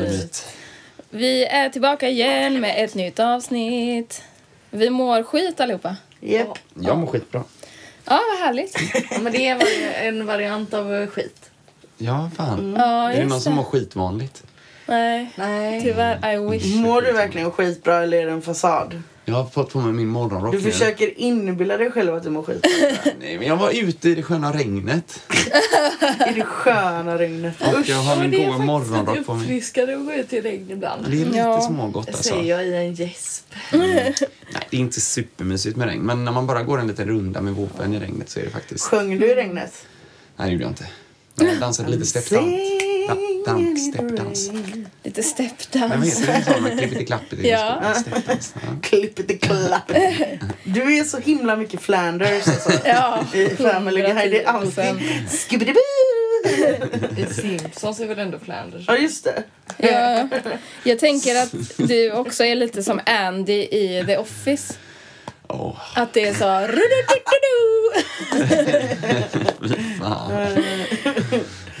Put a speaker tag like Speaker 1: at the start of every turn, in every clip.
Speaker 1: Myt.
Speaker 2: Vi är tillbaka igen med ett nytt avsnitt. Vi mår skit allihopa.
Speaker 3: Japp.
Speaker 1: Jag mår skitbra.
Speaker 2: Ja, vad härligt.
Speaker 3: Ja, men det är vari- en variant av eh, skit.
Speaker 1: Ja, fan.
Speaker 3: Mm.
Speaker 2: Ja,
Speaker 1: Är det
Speaker 2: just
Speaker 1: någon som mår skitvanligt?
Speaker 2: Nej,
Speaker 3: Nej.
Speaker 2: tyvärr. I wish.
Speaker 4: Mår du verkligen skitbra eller är det en fasad?
Speaker 1: Jag har fått på mig min morgonrock
Speaker 4: Du
Speaker 1: nu.
Speaker 4: försöker inbilla dig själv att du mår skitbra.
Speaker 1: Nej, men jag var ute i det sköna regnet.
Speaker 4: I det sköna regnet.
Speaker 1: Och jag har min goa morgonrock på mig.
Speaker 3: uppfriskande att gå ut i regn ibland.
Speaker 1: Det är lite
Speaker 2: Ja.
Speaker 1: smågott
Speaker 3: Det
Speaker 1: alltså.
Speaker 3: säger jag i en gäsp.
Speaker 1: Nej, det är inte supermysigt med regn. Men när man bara går en liten runda med våpen i regnet så är det faktiskt...
Speaker 4: Sjöng du i regnet?
Speaker 1: Nej, det gjorde jag inte. Men jag dansade lite steppdans. Da- dank- Steppdans.
Speaker 2: Lite
Speaker 1: Nej, vad
Speaker 2: steppdans.
Speaker 1: heter det? En sån med klippity-klappity.
Speaker 2: Ja.
Speaker 1: Steppdans. Ja.
Speaker 4: Klippet i klapp. Du är så himla mycket Flanders alltså.
Speaker 2: Ja,
Speaker 4: I Family Guy. Det är
Speaker 2: 110%.
Speaker 4: alltid skibbidibu.
Speaker 3: I Simpsons är väl ändå Flanders?
Speaker 4: Ja just det.
Speaker 2: Ja, jag tänker att du också är lite som Andy i The Office.
Speaker 1: Åh,
Speaker 2: Att det är så... rududududu.
Speaker 1: fan.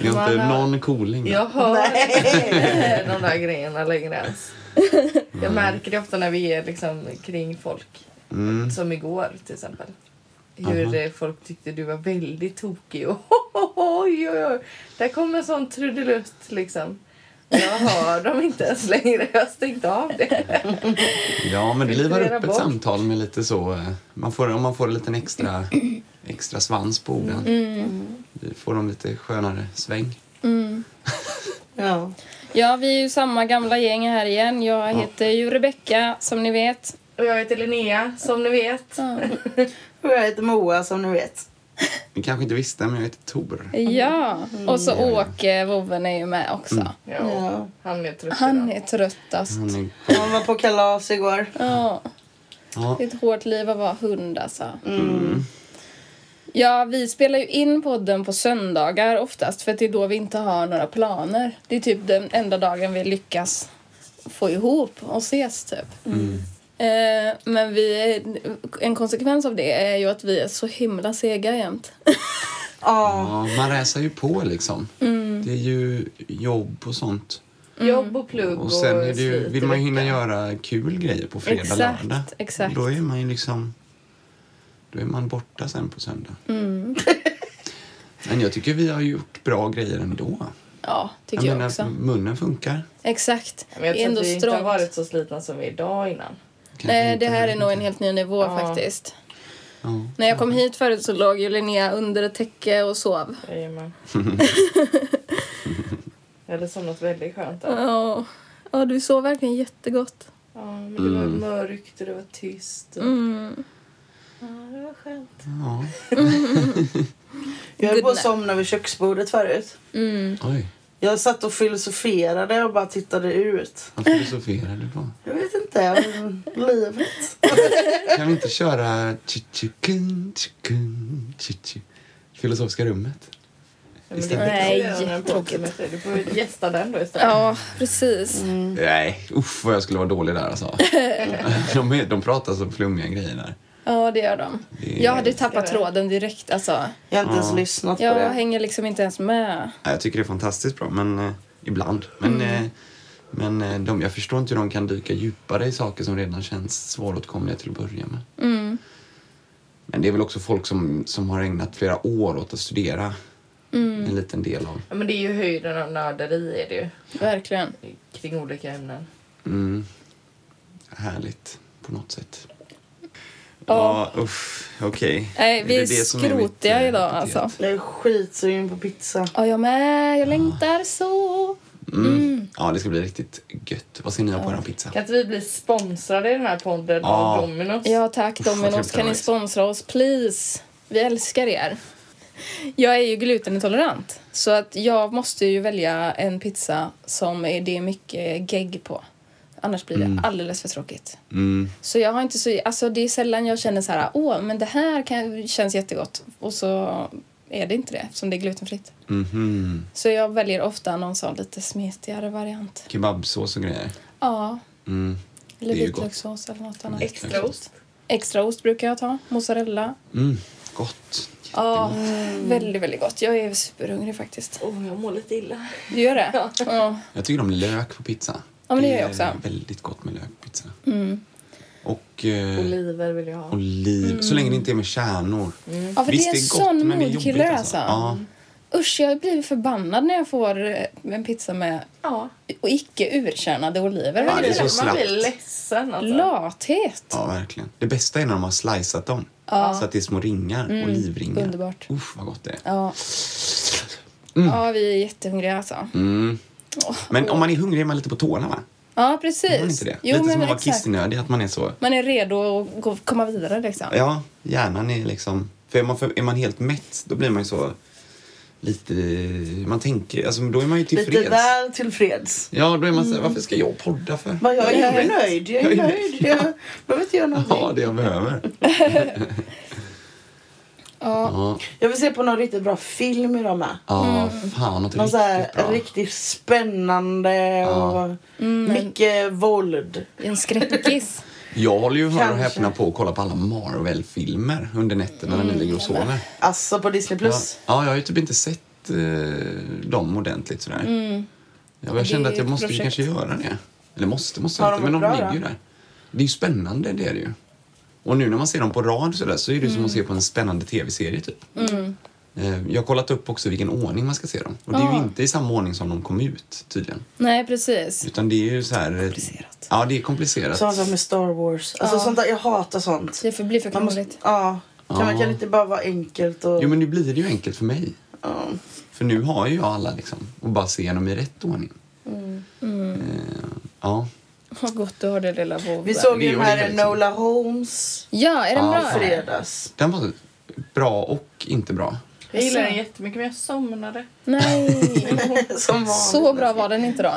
Speaker 1: Det är inte någon cooling. där.
Speaker 3: Jag hör inte de där grejerna längre ens.
Speaker 1: Mm.
Speaker 3: Jag märker det ofta när vi är liksom kring folk.
Speaker 1: Mm.
Speaker 3: Som igår till exempel. Hur eh, folk tyckte du var väldigt tokig. Och, oj, oj, oj. Där kom en sån trudelutt liksom. Jag hör dem inte ens längre. Jag har stängt av det.
Speaker 1: Ja, men det livar
Speaker 3: Filtrera
Speaker 1: upp ett
Speaker 3: bort.
Speaker 1: samtal med lite så... eh, Man får, om man får en liten extra, extra svans på orden.
Speaker 2: Mm.
Speaker 1: Det Får de lite skönare sväng.
Speaker 4: Ja.
Speaker 2: Ja, vi är ju samma gamla gäng här igen. Jag heter ju Rebecka, som ni vet.
Speaker 3: Och jag heter Linnea, som ni vet.
Speaker 4: Och jag heter Moa som ni vet.
Speaker 1: Ni kanske inte visste, men jag heter Tor.
Speaker 2: Ja, och så Åke, vovven, är ju med också.
Speaker 3: Ja. Han är trött
Speaker 2: Han
Speaker 3: idag.
Speaker 2: är alltså. tröttast.
Speaker 1: Han är,
Speaker 4: Hon var på kalas igår.
Speaker 2: Ja,
Speaker 1: ja,
Speaker 2: det är ett hårt liv att vara hund alltså. Ja, vi spelar ju in podden på söndagar oftast för att det är då vi inte har några planer. Det är typ den enda dagen vi lyckas få ihop och ses typ. Eh, Men vi, en konsekvens av det är ju att vi är så himla sega jämt.
Speaker 4: Ja.
Speaker 1: ja, man räsar ju på liksom.
Speaker 2: Mm.
Speaker 1: Det är ju jobb och sånt.
Speaker 3: Jobb och plugg
Speaker 1: Och sen är det ju,
Speaker 3: slit
Speaker 1: vill
Speaker 3: i
Speaker 1: man ju hinna
Speaker 3: veckan.
Speaker 1: göra kul grejer på fredag,
Speaker 2: Exakt,
Speaker 1: lördag.
Speaker 2: exakt.
Speaker 1: Då är man ju liksom... Då är man borta sen på söndag.
Speaker 2: Mm.
Speaker 1: men jag tycker vi har gjort bra grejer ändå.
Speaker 2: Ja, tycker
Speaker 1: Jag
Speaker 2: jag,
Speaker 1: menar,
Speaker 2: också.
Speaker 1: munnen funkar.
Speaker 2: Exakt.
Speaker 3: Men jag
Speaker 2: det är
Speaker 3: tror
Speaker 2: ändå
Speaker 3: att vi inte har
Speaker 2: strångt.
Speaker 3: varit så slitna som vi är idag innan.
Speaker 1: Kanske
Speaker 2: Nej,
Speaker 1: inte.
Speaker 2: det här är nog en helt ny nivå
Speaker 3: Ja.
Speaker 2: faktiskt.
Speaker 1: Ja.
Speaker 2: När jag kom hit förut så låg ju Linnea under ett täcke och sov.
Speaker 3: Jajamän. Jag hade somnat väldigt skönt där.
Speaker 2: Ja, ja du sov verkligen jättegott.
Speaker 3: Ja, men det var
Speaker 1: Mm.
Speaker 3: mörkt och det var tyst.
Speaker 2: Mm.
Speaker 3: Och... Ja, det var skönt.
Speaker 1: Ja.
Speaker 4: Jag höll på att
Speaker 2: Goodnight.
Speaker 4: somna vid köksbordet förut.
Speaker 1: Oj,
Speaker 4: Jag satt och filosoferade och bara tittade ut.
Speaker 1: vad filosoferar du på?
Speaker 4: Jag vet inte. men Livet.
Speaker 1: Kan vi inte köra chichikun, chikun, chichi? Filosofiska rummet? Istället.
Speaker 2: Nej,
Speaker 3: tråkigt. Du får ju gästa den då istället.
Speaker 2: Ja, precis.
Speaker 1: Nej, uff vad jag skulle vara dålig där alltså. de, är, de pratar så flummiga grejer där.
Speaker 2: Ja, det gör de.
Speaker 1: Det-
Speaker 2: Jag hade tappat tråden direkt alltså.
Speaker 4: Jag har inte ens lyssnat på det.
Speaker 2: Jag hänger liksom inte ens med.
Speaker 1: Ja, jag tycker det är fantastiskt bra, men eh, ibland. Men,
Speaker 2: Mm.
Speaker 1: eh, men eh, de, jag förstår inte hur
Speaker 2: Mm.
Speaker 1: de kan dyka djupare i saker som redan känns svåråtkomliga till att börja med. Men det är väl också folk som, som har ägnat flera år åt att studera
Speaker 2: Mm.
Speaker 1: en liten del av.
Speaker 3: Ja, men det är ju höjden av nörderi är det ju,
Speaker 2: Verkligen.
Speaker 3: kring olika ämnen.
Speaker 1: Mm. Härligt på något sätt. Ja, usch, okej.
Speaker 2: Nej,
Speaker 1: Är
Speaker 2: vi är
Speaker 1: det det som mitt,
Speaker 2: skrotiga
Speaker 1: eh,
Speaker 2: idag
Speaker 1: epitet?
Speaker 2: alltså.
Speaker 4: Jag är skitsugen på pizza.
Speaker 2: Ja, jag med. Jag längtar så.
Speaker 1: Mm. Ja, det ska bli riktigt gött. Vad ska ni ha på er pizza?
Speaker 3: Kan inte vi bli sponsrade i den här podden
Speaker 1: Ja.
Speaker 3: av Domino's?
Speaker 2: Ja, tack
Speaker 1: vad
Speaker 2: Domino's. Kan ni
Speaker 1: trevligt.
Speaker 2: sponsra oss, please? Vi älskar er. Jag är ju glutenintolerant, så att jag måste ju välja en pizza som är- det är mycket gegg på. Annars blir det
Speaker 1: Mm.
Speaker 2: alldeles för tråkigt. Så jag har inte så... Alltså det är sällan jag känner så här, åh, men det här kan, känns jättegott. Och så är det inte det, eftersom det är glutenfritt.
Speaker 1: Mhm.
Speaker 2: Så jag väljer ofta någon sån lite smetigare variant.
Speaker 1: Kebabsås och grejer.
Speaker 2: Ja,
Speaker 1: Mm.
Speaker 2: eller
Speaker 1: Det är ju gott.
Speaker 2: vitlökssås eller något annat.
Speaker 3: Extra ost.
Speaker 2: Extra ost brukar jag ta, mozzarella.
Speaker 1: Mm. Gott.
Speaker 2: Ja, väldigt, väldigt gott. Jag är superhungrig faktiskt.
Speaker 3: Åh, jag mår lite illa.
Speaker 2: Du gör det? Ja.
Speaker 1: Jag tycker om lök på pizza.
Speaker 2: Ja, men det gör jag
Speaker 1: är
Speaker 2: också. Mm.
Speaker 1: väldigt gott med lök på pizza. Och eh,
Speaker 3: Oliver vill jag ha.
Speaker 1: oliv. Så länge det inte är med kärnor.
Speaker 2: Mm.
Speaker 4: Mm.
Speaker 2: Ja, för
Speaker 1: Visst,
Speaker 2: det är en
Speaker 1: gott,
Speaker 2: sån
Speaker 1: men det är
Speaker 2: moodkiller
Speaker 1: jobbigt
Speaker 2: alltså.
Speaker 1: Ja.
Speaker 2: Usch, jag blir förbannad när jag får eh, en pizza med
Speaker 3: Ja.
Speaker 2: och icke urkärnade oliver.
Speaker 1: Ja,
Speaker 2: Vad är
Speaker 1: det är
Speaker 2: det?
Speaker 1: så
Speaker 3: Man blir
Speaker 1: slappt.
Speaker 3: ledsen alltså.
Speaker 2: Lathet!
Speaker 1: ja, verkligen. Det bästa är när de har slicat dem. Så att det är små ringar. Olivringar.
Speaker 2: Mm. underbart.
Speaker 1: Usch, vad gott det är.
Speaker 2: Ja. ja, vi är jättehungriga alltså.
Speaker 1: Mm. Men om man är hungrig är man lite på tårna, va?
Speaker 2: Ja,
Speaker 1: Är man
Speaker 2: precis.
Speaker 1: inte det?
Speaker 2: Jo,
Speaker 1: lite
Speaker 2: men
Speaker 1: som att vara
Speaker 2: exakt.
Speaker 1: kissnödig, att man är så...
Speaker 2: Man är redo att gå, komma vidare liksom.
Speaker 1: Ja, hjärnan är liksom... För är man, för, är man helt mätt, då blir man ju så... Lite... Man tänker... Alltså, då är man ju
Speaker 4: Lite
Speaker 1: tillfreds.
Speaker 4: väl tillfreds.
Speaker 1: Ja, då är man så här, varför ska jag podda för?
Speaker 4: Men Mm. jag
Speaker 1: Jag
Speaker 4: är
Speaker 1: vet.
Speaker 4: ju nöjd. Jag är
Speaker 1: Jag är
Speaker 4: nöjd. Jag behöver inte göra
Speaker 1: Ja,
Speaker 4: någonting.
Speaker 1: det jag behöver. ja.
Speaker 4: Jag vill se på någon riktigt bra film idag med.
Speaker 1: Ja, fan något
Speaker 4: Mm. Någon så
Speaker 1: riktigt
Speaker 4: här
Speaker 1: bra.
Speaker 4: riktigt spännande och
Speaker 2: Mm.
Speaker 4: mycket våld.
Speaker 2: En skräckis.
Speaker 1: Jag håller ju hör och
Speaker 4: Kanske. Mm.
Speaker 1: häpna på att kolla på alla Marvel-filmer under nätterna när ni ligger och sover.
Speaker 4: Alltså på Disney
Speaker 1: Ja,
Speaker 4: plus.
Speaker 1: ja, jag har ju typ inte sett eh, dem ordentligt sådär. Ja, jag kände
Speaker 2: är
Speaker 1: att jag
Speaker 2: ett
Speaker 1: måste ju
Speaker 2: projekt.
Speaker 1: kanske göra det. Eller måste, måste
Speaker 4: Har
Speaker 1: jag
Speaker 4: de
Speaker 1: inte, men de
Speaker 4: varit bra
Speaker 1: ligger ju
Speaker 4: då?
Speaker 1: där. Det är ju spännande, det är det ju. Och nu när man ser dem på rad sådär så är det ju som att se på en spännande tv-serie typ. Eh, Jag har kollat upp också vilken ordning man ska se dem. Och det är ju inte i samma ordning som de kom ut tydligen.
Speaker 2: Nej, precis.
Speaker 1: Utan det är ju så här...
Speaker 2: Komplicerat.
Speaker 1: Ja, det är komplicerat.
Speaker 4: Sådana som med Star Wars. Alltså sånt där, jag hatar sånt.
Speaker 2: Det får bli för
Speaker 4: Man måste,
Speaker 2: krångligt.
Speaker 4: ja. Kan man kan det inte bara vara enkelt och...
Speaker 1: Jo, men nu blir det ju enkelt för mig. För nu har ju jag alla liksom. Och bara se igenom i rätt ordning. Mm. Eh, ja.
Speaker 2: Vad gott du har det lilla vovve.
Speaker 4: Vi såg
Speaker 1: det
Speaker 4: ju
Speaker 1: är
Speaker 4: den
Speaker 1: ju
Speaker 4: här
Speaker 1: liksom-
Speaker 4: Enola Holmes
Speaker 2: Ja, är den
Speaker 1: Ja,
Speaker 2: bra?
Speaker 1: fan.
Speaker 4: fredags.
Speaker 1: Den var bra och inte bra.
Speaker 3: Jag gillar den jättemycket men jag somnade.
Speaker 2: Nej.
Speaker 4: Som vanligt.
Speaker 2: Så bra var den inte då.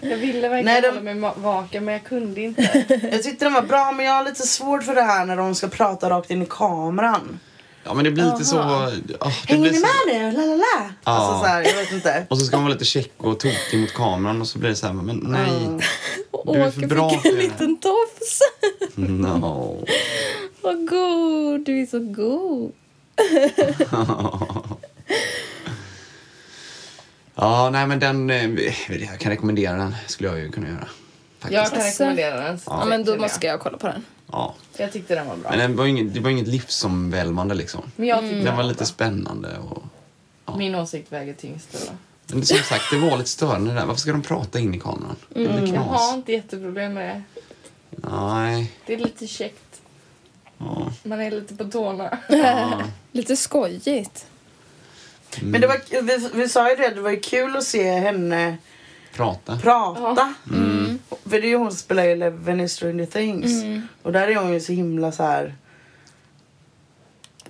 Speaker 3: Jag ville verkligen
Speaker 4: Nej, de-
Speaker 3: hålla mig ma- vaken men jag kunde inte.
Speaker 4: Jag tyckte den var bra men jag har lite svårt för det här när de ska prata rakt in i kameran.
Speaker 1: Ja, men det blir lite så... ah, det
Speaker 4: Hänger
Speaker 1: blir
Speaker 4: ni
Speaker 1: så...
Speaker 4: med nu? La la la. Alltså
Speaker 1: Ja. Mm.
Speaker 4: så här, jag vet inte.
Speaker 1: Och så ska man vara lite check och tokig mot kameran och så blir det så här, men nej. Du är
Speaker 2: Åke
Speaker 1: för bra
Speaker 2: fick en
Speaker 1: för det här.
Speaker 2: liten tofs.
Speaker 1: No.
Speaker 2: Vad god, du är så god.
Speaker 1: Ja, nej men den... eh, Jag kan rekommendera den, skulle jag ju kunna göra. Faktiskt.
Speaker 3: Jag kan rekommendera den.
Speaker 2: Ja, men då måste jag kolla på den.
Speaker 1: Ja.
Speaker 3: Alltså, Jag tyckte den var bra. Mm.
Speaker 1: Men den var ju inget, det var inget livsomvälvande liksom.
Speaker 3: Men jag
Speaker 4: Mm.
Speaker 3: tyckte
Speaker 1: Den var lite spännande och...
Speaker 3: Min åsikt väger tyngst. eller?
Speaker 1: Men som sagt, det var lite störande där. Varför ska de prata in i kameran? Det blir
Speaker 3: Jag har
Speaker 1: knas.
Speaker 3: inte jätteproblem med det.
Speaker 1: Nej.
Speaker 3: Det är lite käckt.
Speaker 1: Ja.
Speaker 3: Man är lite på tårna.
Speaker 2: Lite skojigt.
Speaker 4: Men det var, vi, vi sa ju det, det var ju kul att se henne
Speaker 1: Prata.
Speaker 4: prata. För det är ju hon som spelar i Eleven i Stranger Things. Och där är hon ju så himla så här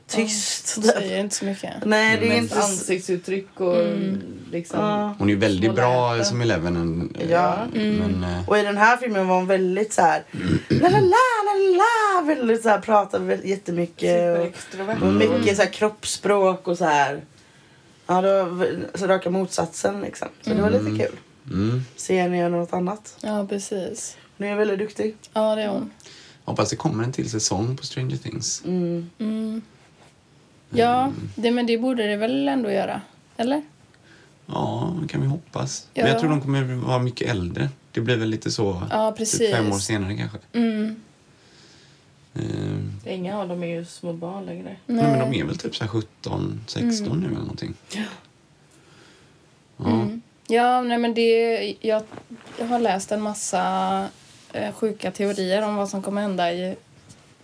Speaker 4: tyst.
Speaker 2: Säger inte så mycket.
Speaker 4: Nej det är
Speaker 3: Mest
Speaker 4: inte så- Mm.
Speaker 3: ansiktsuttryck och liksom...
Speaker 4: Ja.
Speaker 1: Hon är ju väldigt
Speaker 3: Små
Speaker 1: bra
Speaker 3: läten.
Speaker 1: som Eleven. en- eh,
Speaker 4: Ja.
Speaker 1: Men, eh,
Speaker 4: Och i den här filmen var hon väldigt så här la la la la la väldigt så här pratade väl- jättemycket och,
Speaker 3: Superextrovert.
Speaker 4: och mycket så här kroppsspråk och så här ja det var väl- så raka motsatsen liksom. Så det var lite kul.
Speaker 1: mm.
Speaker 4: Se henne göra något annat.
Speaker 2: Ja, precis.
Speaker 4: Hon är väldigt duktig.
Speaker 2: Ja, det är hon.
Speaker 1: Hoppas det kommer en till säsong på Stranger Things.
Speaker 2: Ja, det, men det borde det väl ändå göra? Eller?
Speaker 1: Ja, det kan vi hoppas.
Speaker 2: Ja.
Speaker 1: Men jag tror de kommer vara mycket äldre. Det blir väl lite så
Speaker 2: Ja,
Speaker 1: typ
Speaker 2: precis.
Speaker 1: fem år senare kanske. Eh,
Speaker 3: Inga av dem är ju små barn längre.
Speaker 1: Nej. men de är väl typ så här 17, 16 nu eller någonting. Ja.
Speaker 2: Ja, nej, men det, jag, jag har läst en massa eh, sjuka teorier om vad som kommer hända i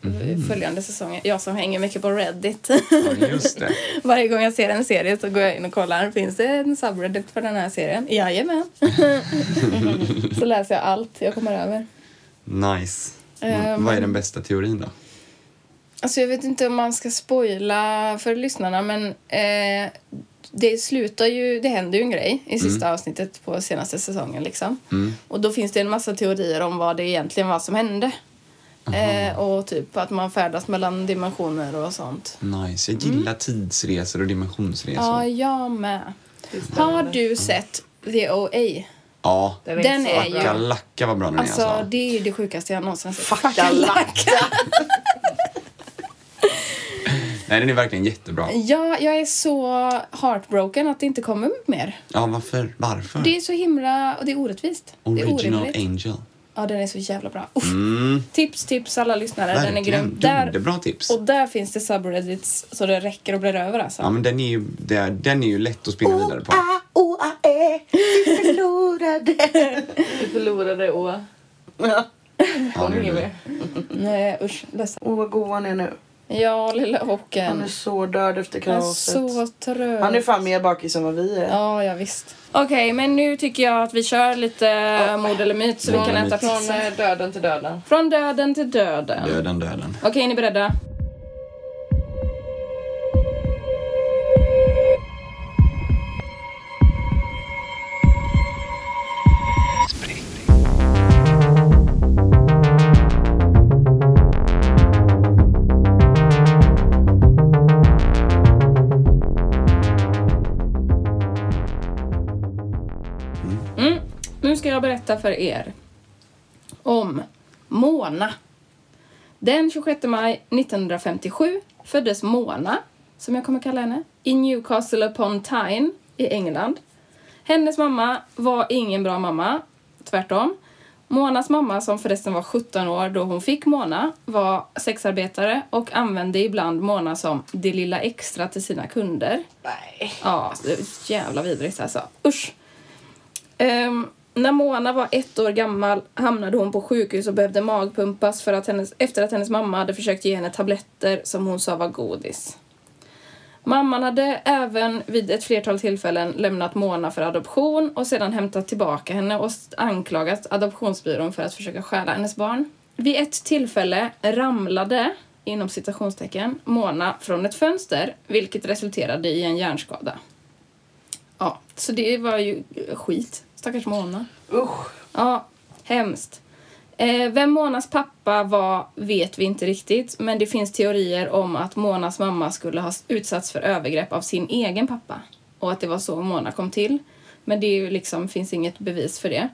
Speaker 2: i följande säsonger. Jag som hänger mycket på Reddit.
Speaker 1: Ja, just det.
Speaker 2: Varje gång jag ser en serie så går jag in och kollar. Finns det en subreddit för den här serien? Jajamän. så läser jag allt jag kommer över.
Speaker 1: Nice.
Speaker 2: Eh,
Speaker 1: Vad är den bästa teorin då?
Speaker 2: Alltså jag vet inte om man ska spoila för lyssnarna men eh, det slutar ju, det händer ju en grej i sista avsnittet på senaste säsongen liksom. Och då finns det en massa teorier om vad det egentligen var som hände. Eh, och typ att man färdas mellan dimensioner och sånt.
Speaker 1: Nice. Jag gillar tidsresor och dimensionsresor.
Speaker 2: Mm. Ja, jag med. Har du sett The OA?
Speaker 1: Ja.
Speaker 3: Den är,
Speaker 2: Den
Speaker 3: så
Speaker 2: är
Speaker 3: bra.
Speaker 2: ju-
Speaker 1: Lacka lacka vad bra den är
Speaker 2: Alltså
Speaker 1: alltså.
Speaker 2: det är ju det sjukaste jag någonsin har sett.
Speaker 1: Nej, den är verkligen jättebra.
Speaker 2: Ja, jag är så heartbroken att det inte kommer mer.
Speaker 1: Ja, varför? Varför?
Speaker 2: Det är så himla... och det är orättvist. det är
Speaker 1: Original Mm.
Speaker 2: orimligt.
Speaker 1: Angel.
Speaker 2: Ja, den är så jävla bra. Uff. Tips, tips alla lyssnare. Den är grym.
Speaker 1: Dunderbra tips.
Speaker 2: och där finns det subreddits så det räcker och blir över alltså.
Speaker 1: Ja, men den är ju, det är- den är ju lätt att spinna vidare på.
Speaker 4: Oa, e, vi förlorade.
Speaker 3: Vi förlorade och
Speaker 1: Ja, det är
Speaker 3: inget
Speaker 1: det.
Speaker 3: mer.
Speaker 2: Nej, usch. Ledsen.
Speaker 4: Åh, vad god han är nu.
Speaker 2: Ja, lilla
Speaker 4: Han
Speaker 2: Håkan.
Speaker 4: är så död efter
Speaker 2: Han är
Speaker 4: kalaset.
Speaker 2: så trött.
Speaker 4: Han är fan mer bakis än vad vi är.
Speaker 2: Ja, ja visst. Okej, men nu tycker jag att vi kör lite mod eller myt så vi
Speaker 1: Mod
Speaker 2: kan äta
Speaker 1: eller myt.
Speaker 2: från,
Speaker 3: Från eh, döden till döden.
Speaker 2: från döden till döden.
Speaker 1: Döden, döden.
Speaker 2: Okej, är ni beredda? Mm. Nu ska jag berätta för er om Mona. Den 26 maj 1957 föddes Mona, som jag kommer kalla henne, i Newcastle upon Tyne i England. Hennes mamma var ingen bra mamma, tvärtom. Monas mamma, som förresten var 17 år då hon fick Mona, var sexarbetare och använde ibland Mona som det lilla extra till sina kunder.
Speaker 3: Nej.
Speaker 2: Ja, det är jävla vidrigt alltså. Usch. Ehm, när Mona var ett år gammal hamnade hon på sjukhus och behövde magpumpas för att hennes, efter att hennes mamma hade försökt ge henne tabletter som hon sa var godis. Mamman hade även vid ett flertal tillfällen lämnat Mona för adoption och sedan hämtat tillbaka henne och anklagat adoptionsbyrån för att försöka stjäla hennes barn. Vid ett tillfälle ramlade, inom citationstecken, Mona från ett fönster vilket resulterade i en hjärnskada. Ja, så det var ju eh, skit. Stackars Mona.
Speaker 3: Usch.
Speaker 2: Ja, hemskt. Eh, vem Monas pappa var vet vi inte riktigt, men det finns teorier om att Monas mamma skulle ha utsatts för övergrepp av sin egen pappa och att det var så Mona kom till. Men det är ju liksom, finns inget bevis för det.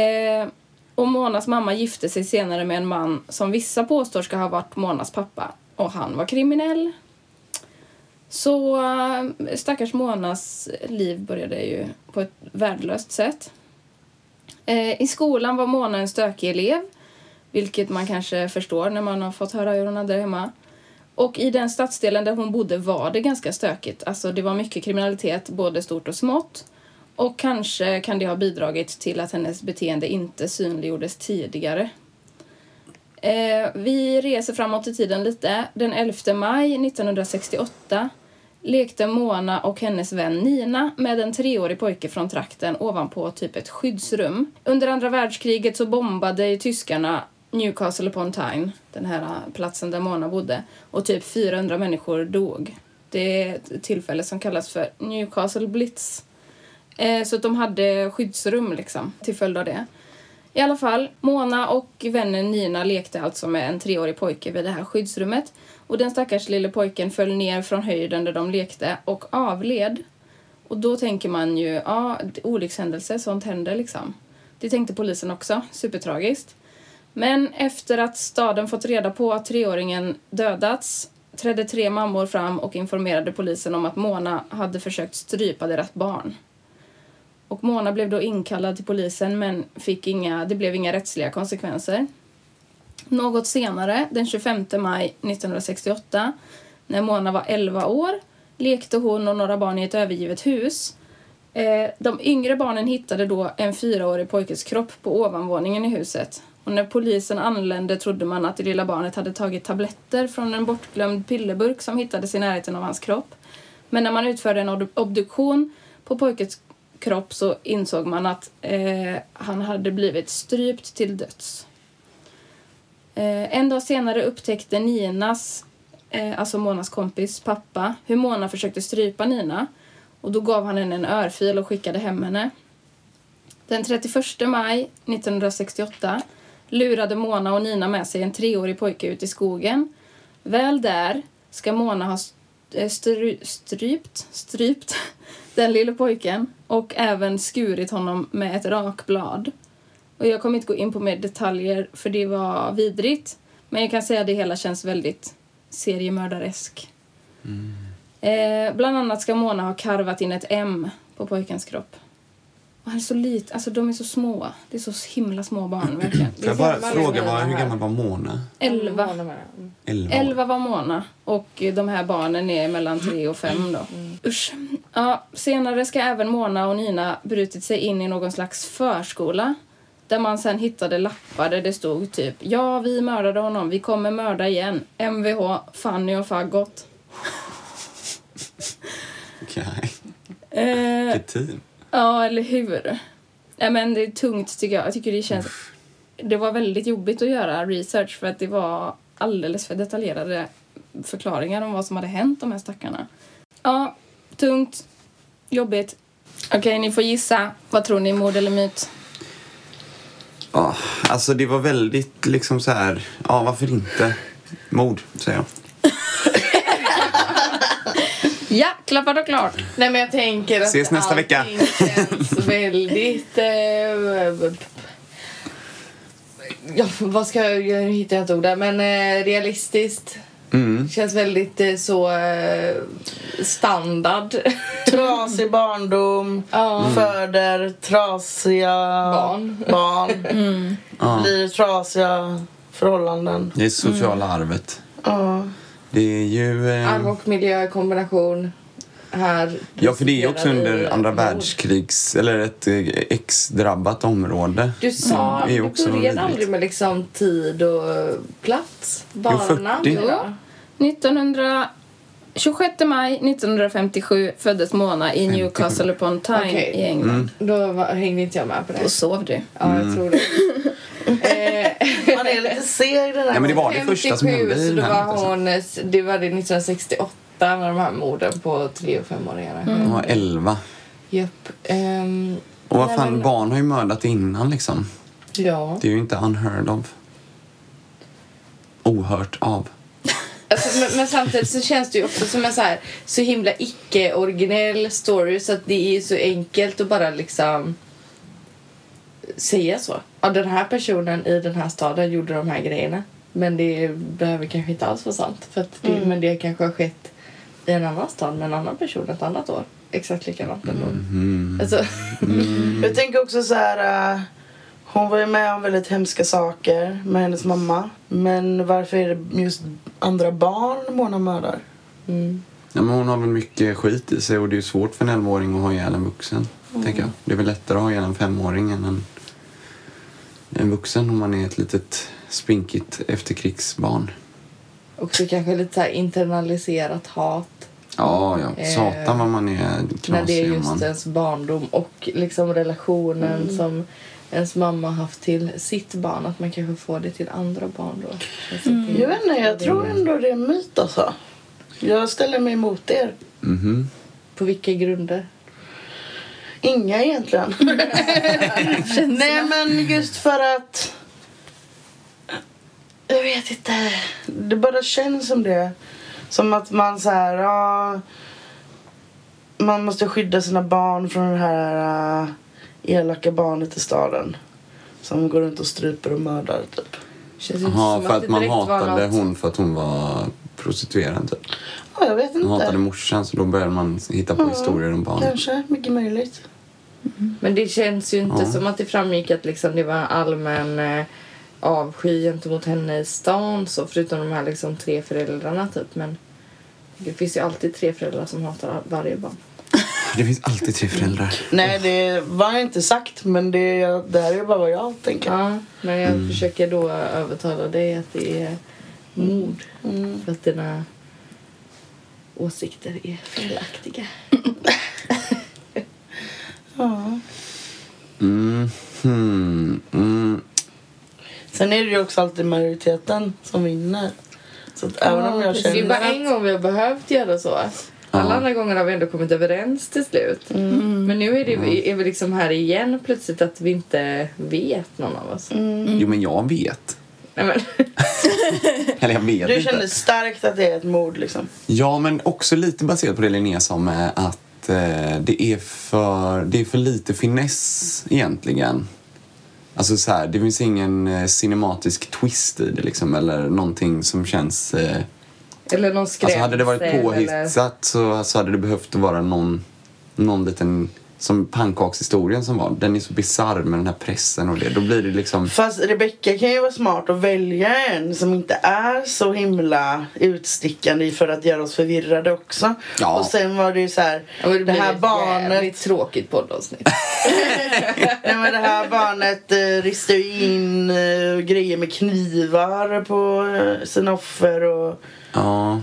Speaker 2: Eh, och Monas mamma gifte sig senare med en man som vissa påstår ska ha varit Monas pappa och han var kriminell. Så eh, stackars Monas liv började ju på ett värdelöst sätt. Eh, I skolan var Mona en stökig elev, vilket man kanske förstår när man har fått höra hur hon hade det hemma. Och i den stadsdelen där hon bodde var det ganska stökigt. Alltså det var mycket kriminalitet, både stort och smått. Och kanske kan det ha bidragit till att hennes beteende inte synliggjordes tidigare. Eh, vi reser framåt i tiden lite. Den 11 maj 1968 lekte Mona och hennes vän Nina med en treårig pojke från trakten ovanpå typ ett skyddsrum. Under andra världskriget så bombade ju tyskarna Newcastle upon Tyne, den här eh, platsen där Mona bodde, och typ 400 människor dog. Det är ett tillfälle som kallas för Newcastle Blitz. Eh, så att de hade skyddsrum liksom, till följd av det. I alla fall, Mona och vännen Nina lekte alltså med en treårig pojke vid det här skyddsrummet och den stackars lille pojken föll ner från höjden där de lekte och avled. Och då tänker man ju, ja, olyckshändelse, sånt händer liksom. Det tänkte polisen också, supertragiskt. Men efter att staden fått reda på att treåringen dödats trädde tre mammor fram och informerade polisen om att Mona hade försökt strypa deras barn. Och Mona blev då inkallad till polisen men fick inga, det blev inga rättsliga konsekvenser. Något senare, den 25 maj 1968, när Mona var 11 år, lekte hon och några barn i ett övergivet hus. Eh, De yngre barnen hittade då en fyraårig pojkes kropp på ovanvåningen i huset. Och när polisen anlände trodde man att det lilla barnet hade tagit tabletter från en bortglömd pillerburk som hittades i närheten av hans kropp. Men när man utförde en ob- obduktion på pojkens kropp så insåg man att eh, han hade blivit strypt till döds. Eh, en dag senare upptäckte Ninas, eh, alltså Monas kompis, pappa hur Mona försökte strypa Nina och då gav han henne en örfil och skickade hem henne. Den 31 maj 1968 lurade Mona och Nina med sig en treårig pojke ut i skogen. Väl där ska Mona ha st- eh, stry- strypt, strypt den lille pojken och även skurit honom med ett rakblad. Och jag kommer inte gå in på mer detaljer för det var vidrigt. Men jag kan säga att det hela känns väldigt seriemördaresk. Eh, bland annat ska Mona ha karvat in ett M på pojkens kropp. Och han är så liten, alltså de är så små. Det är så himla små barn verkligen.
Speaker 1: Får jag
Speaker 3: Hur
Speaker 1: bara
Speaker 3: gammal är
Speaker 1: fråga,
Speaker 3: Mona
Speaker 1: vad, hur
Speaker 3: här?
Speaker 1: gammal var Mona?
Speaker 2: Elva.
Speaker 3: Månader menar jag. Mm.
Speaker 1: Elva år.
Speaker 2: 11 var Mona och de här barnen är mellan 3 och 5 då. Usch. Ja, senare ska även Mona och Nina brutit sig in i någon slags förskola där man sen hittade lappar där det stod typ Ja, vi mördade honom, vi kommer mörda igen. Mvh, Fanny och Faggot.
Speaker 1: Okej,
Speaker 2: Eh,
Speaker 1: vilket team.
Speaker 2: Ja, eller hur? Nej, men det är tungt tycker jag. Jag tycker det känns... Det var väldigt jobbigt att göra research för att det var alldeles för detaljerade förklaringar om vad som hade hänt de här stackarna. Ja, tungt. Jobbigt. Okej, ni får gissa. Vad tror ni? Mord eller myt?
Speaker 1: Ja, alltså det var väldigt liksom så här, ja varför inte? Mord, säger jag.
Speaker 2: Ja, klappat och klart.
Speaker 3: Nej men jag tänker att
Speaker 1: Ses nästa vecka.
Speaker 3: allting känns väldigt... Eh, ja, vad ska jag... jag hittar jag inte ord där. Men eh, realistiskt.
Speaker 1: Mm.
Speaker 3: Känns väldigt eh, så eh, standard.
Speaker 1: Typ.
Speaker 4: Trasig barndom,
Speaker 3: Mm. Ja.
Speaker 4: föder trasiga
Speaker 3: Barn. Mm.
Speaker 4: barn
Speaker 1: Ja.
Speaker 4: blir trasiga förhållanden.
Speaker 1: Det är sociala arvet.
Speaker 4: Ja.
Speaker 1: Det är ju...
Speaker 3: Arv
Speaker 1: Eh,
Speaker 3: och miljö i kombination. Här
Speaker 1: ja, för det är ju också
Speaker 3: presenterar vi
Speaker 1: under andra
Speaker 3: mord.
Speaker 1: världskrigs... Eller ett eh, ex-drabbat område.
Speaker 3: Du sa,
Speaker 1: Mm, det är
Speaker 3: du
Speaker 1: också
Speaker 3: började
Speaker 1: vidrigt.
Speaker 3: aldrig med liksom tid och eh, plats. Barnamn
Speaker 1: 40.
Speaker 3: då?
Speaker 2: 1900... 26 maj 1957 föddes Mona i Newcastle upon Tyne
Speaker 3: Okej.
Speaker 2: i England.
Speaker 3: Då var, hängde inte jag med på
Speaker 2: Då
Speaker 1: Mm.
Speaker 3: det.
Speaker 2: sov du.
Speaker 3: Ja, jag tror Eh, det.
Speaker 4: Man är lite seg den här
Speaker 1: Ja, men det var det första som hände i
Speaker 3: så
Speaker 1: den
Speaker 3: då
Speaker 1: här
Speaker 3: var
Speaker 1: händelsen.
Speaker 3: hon, det var det 1968 med de här morden på tre och femåringarna.
Speaker 1: Hon var 11.
Speaker 3: Japp. Ehm,
Speaker 1: Och vad
Speaker 3: Nej,
Speaker 1: fan,
Speaker 3: men-
Speaker 1: barn har ju mördat innan liksom.
Speaker 3: ja.
Speaker 1: Det är ju inte unheard of. Ohört av.
Speaker 3: Alltså, men, men samtidigt så känns det ju också som en så här så himla icke-originell story så att det är ju så enkelt att bara liksom säga så. Ja, den här personen i den här staden gjorde de här grejerna. Men det behöver kanske inte alls vara sant. För att det, Men det kanske har skett i en annan stad med en annan person ett annat år. Exakt likadant ändå. Alltså,
Speaker 4: Jag tänker också så här... eh, hon var ju med om väldigt hemska saker med hennes mamma. Men varför är det just andra barn Mona mördar?
Speaker 1: Ja, men hon har väl mycket skit i sig och det är ju svårt för en 11-åring att ha ihjäl en vuxen.
Speaker 3: Mm.
Speaker 1: Tänker jag. Det är väl lättare att ha ihjäl en femåring än en, en vuxen om man är ett litet spinkigt efterkrigsbarn.
Speaker 3: också kanske lite så här internaliserat hat.
Speaker 1: Ja, ja.
Speaker 3: Eh,
Speaker 1: Satan vad man är
Speaker 3: När det är
Speaker 1: knasig. om man... Mm.
Speaker 3: just ens barndom och liksom relationen som ens mamma haft till sitt barn. Att man kanske får det till andra barn då. Känns inte-
Speaker 4: Jag vet inte, jag tror ändå det är en myt alltså. Jag ställer mig emot er.
Speaker 1: Mhm.
Speaker 3: På vilka grunder?
Speaker 4: Inga egentligen. Nej men just för att... Jag vet inte. Det bara känns som det. Som att man så här... Ja, man måste skydda sina barn från det här äh, elaka barnet i staden. Som går runt och stryper och mördar typ.
Speaker 3: Känns ju inte
Speaker 1: Jaha,
Speaker 3: som
Speaker 1: för
Speaker 3: att
Speaker 1: att
Speaker 3: det
Speaker 1: man
Speaker 3: direkt var
Speaker 1: hatade
Speaker 3: något-
Speaker 1: hon för att hon var prostituerad typ.
Speaker 4: Ja, jag vet
Speaker 1: Hon hatade
Speaker 4: inte.
Speaker 1: morsan så då började man hitta på historier om barnet.
Speaker 4: Kanske, mycket möjligt.
Speaker 3: Men det känns ju inte
Speaker 1: Ja.
Speaker 3: som att det framgick att liksom det var en allmän eh, avsky gentemot henne i stan så förutom de här liksom tre föräldrarna typ men det finns ju alltid tre föräldrar som hatar varje barn.
Speaker 1: Det finns alltid tre föräldrar.
Speaker 4: Nej, det var inte sagt, men det, det här är bara vad jag tänker.
Speaker 3: Ja, men jag
Speaker 1: Mm.
Speaker 3: försöker då övertala dig att det är mod för att dina åsikter är felaktiga.
Speaker 1: Hmm. Mm.
Speaker 4: Sen är det ju också alltid majoriteten som vinner. Så att även om jag
Speaker 3: Det är ju bara
Speaker 4: känner...
Speaker 3: en gång vi har behövt göra så. Alla andra gånger har vi ändå kommit överens till slut.
Speaker 2: Mm.
Speaker 3: Men nu är, det, är vi liksom här igen plötsligt att vi inte vet någon av
Speaker 2: Mm.
Speaker 3: oss.
Speaker 1: Jo, men jag vet.
Speaker 3: Nej, men,
Speaker 1: Eller jag vet
Speaker 4: Du
Speaker 1: inte.
Speaker 4: känner starkt att det är ett mord liksom.
Speaker 1: Ja, men också lite baserat på det Linnea sa med att eh, det, är för, det är för lite finess egentligen. Alltså så här, det finns ingen eh, cinematisk twist i det liksom eller någonting som känns... Eh,
Speaker 3: eller någon skrämsel.
Speaker 1: alltså hade det varit
Speaker 3: eller-
Speaker 1: påhittat så, så hade det behövt vara någon, någon liten... Som pannkakshistorien som var. Den är så bisarr med den här pressen och det. Då blir det liksom...
Speaker 4: Fast Rebecca kan ju vara smart och välja en som inte är så himla utstickande för att göra oss förvirrade också.
Speaker 1: Ja.
Speaker 4: Och sen var det ju så här,
Speaker 3: Ja, men
Speaker 4: det
Speaker 3: blir
Speaker 4: här
Speaker 3: ett
Speaker 4: barnet
Speaker 3: jävligt tråkigt poddavsnitt.
Speaker 4: Nej men det här barnet eh, ristar ju in eh, grejer med knivar på eh, sina offer och
Speaker 1: Ja,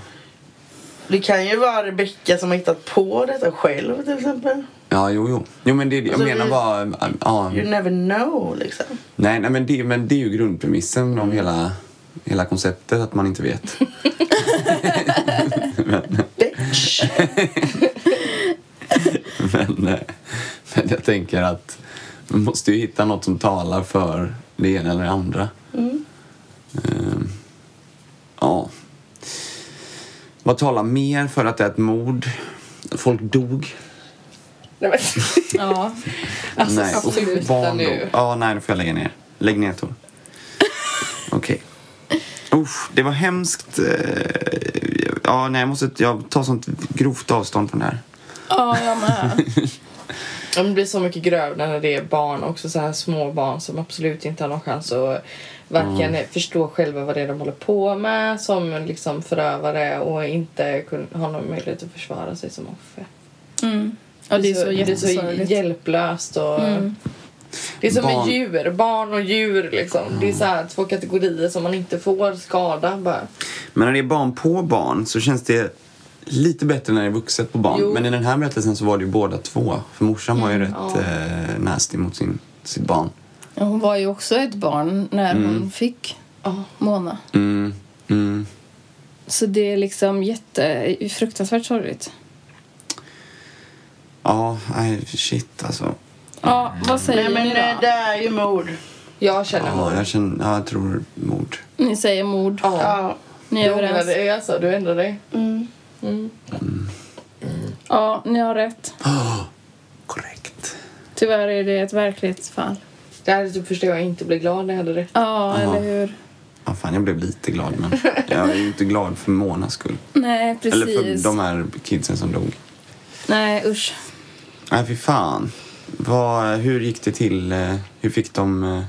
Speaker 4: det kan ju vara Rebecka som har hittat på detta själv till exempel.
Speaker 1: ja jo, jo. Jo, men det är det. Jag
Speaker 4: Alltså,
Speaker 1: menar
Speaker 4: vi-
Speaker 1: bara... eh, Ja,
Speaker 4: You never know liksom.
Speaker 1: Nej, nej men, det, men det är ju grundpremissen om hela, hela konceptet, att man inte vet.
Speaker 4: Bitch.
Speaker 1: men, eh, men jag tänker att man måste ju hitta något som talar för det ena eller det andra. Ehm, ja. Vad talar mer för att det är ett mord? Folk dog.
Speaker 3: Nej, men,
Speaker 2: Ja.
Speaker 1: nej, och
Speaker 3: sluta
Speaker 1: barn
Speaker 3: Alltså, nu.
Speaker 1: dog. Ja, nej, nu får jag lägga ner. Lägg ner Tor. Okej. Usch, det var hemskt. eh, Ja, nej, jag måste jag tar sånt grovt avstånd från det här.
Speaker 2: ja, jag med.
Speaker 3: Ja, men det blir så mycket grövre när det är barn, också så här små barn som absolut inte har någon chans att varken förstå själva vad det är de håller på med som liksom förövare och inte kun, har någon möjlighet att försvara sig som offer.
Speaker 2: Ja, det är så Mm.
Speaker 3: det är så
Speaker 2: jättesorgligt.
Speaker 3: hjälplöst och... Det är som
Speaker 1: Barn-
Speaker 3: med djur, barn och djur liksom. Det är så här två kategorier som man inte får skada bara.
Speaker 1: Men när det är barn på barn så känns det lite bättre när det är vuxet på barn.
Speaker 3: Jo. Mm,
Speaker 1: Men i den här berättelsen så var det ju båda två. För morsan var ju rätt eh, nasty mot sin, sitt barn.
Speaker 2: Ja, Hon var ju också ett barn när hon fick Mona.
Speaker 1: Mm, mm.
Speaker 2: Så det är liksom jätte, fruktansvärt sorgligt.
Speaker 1: Ja, nej, shit alltså.
Speaker 2: Ja, vad säger
Speaker 4: Nej men
Speaker 2: ni då?
Speaker 4: eh, det är ju mord.
Speaker 3: Jag känner
Speaker 1: Ja,
Speaker 3: mig...
Speaker 1: jag, känner, ja, jag tror mord.
Speaker 2: Ni säger mord.
Speaker 4: Ja.
Speaker 2: Ni är
Speaker 3: Du ångrar
Speaker 2: överens.
Speaker 3: dig alltså, du ändrar dig.
Speaker 2: Ja, ni har rätt.
Speaker 1: Korrekt.
Speaker 2: Tyvärr är det ett verklighetsfall.
Speaker 3: Det här är typ första gången jag inte blir glad när jag hade rätt.
Speaker 2: Ja, eller hur?
Speaker 1: Ja, fan, jag blev lite glad, men jag är ju inte glad för Monas skull.
Speaker 2: Nej, precis.
Speaker 1: Eller för de här kidsen som dog.
Speaker 2: Nej, usch.
Speaker 1: Nej, fy fan. Vad, hur gick det till? eh, Hur fick de... eh,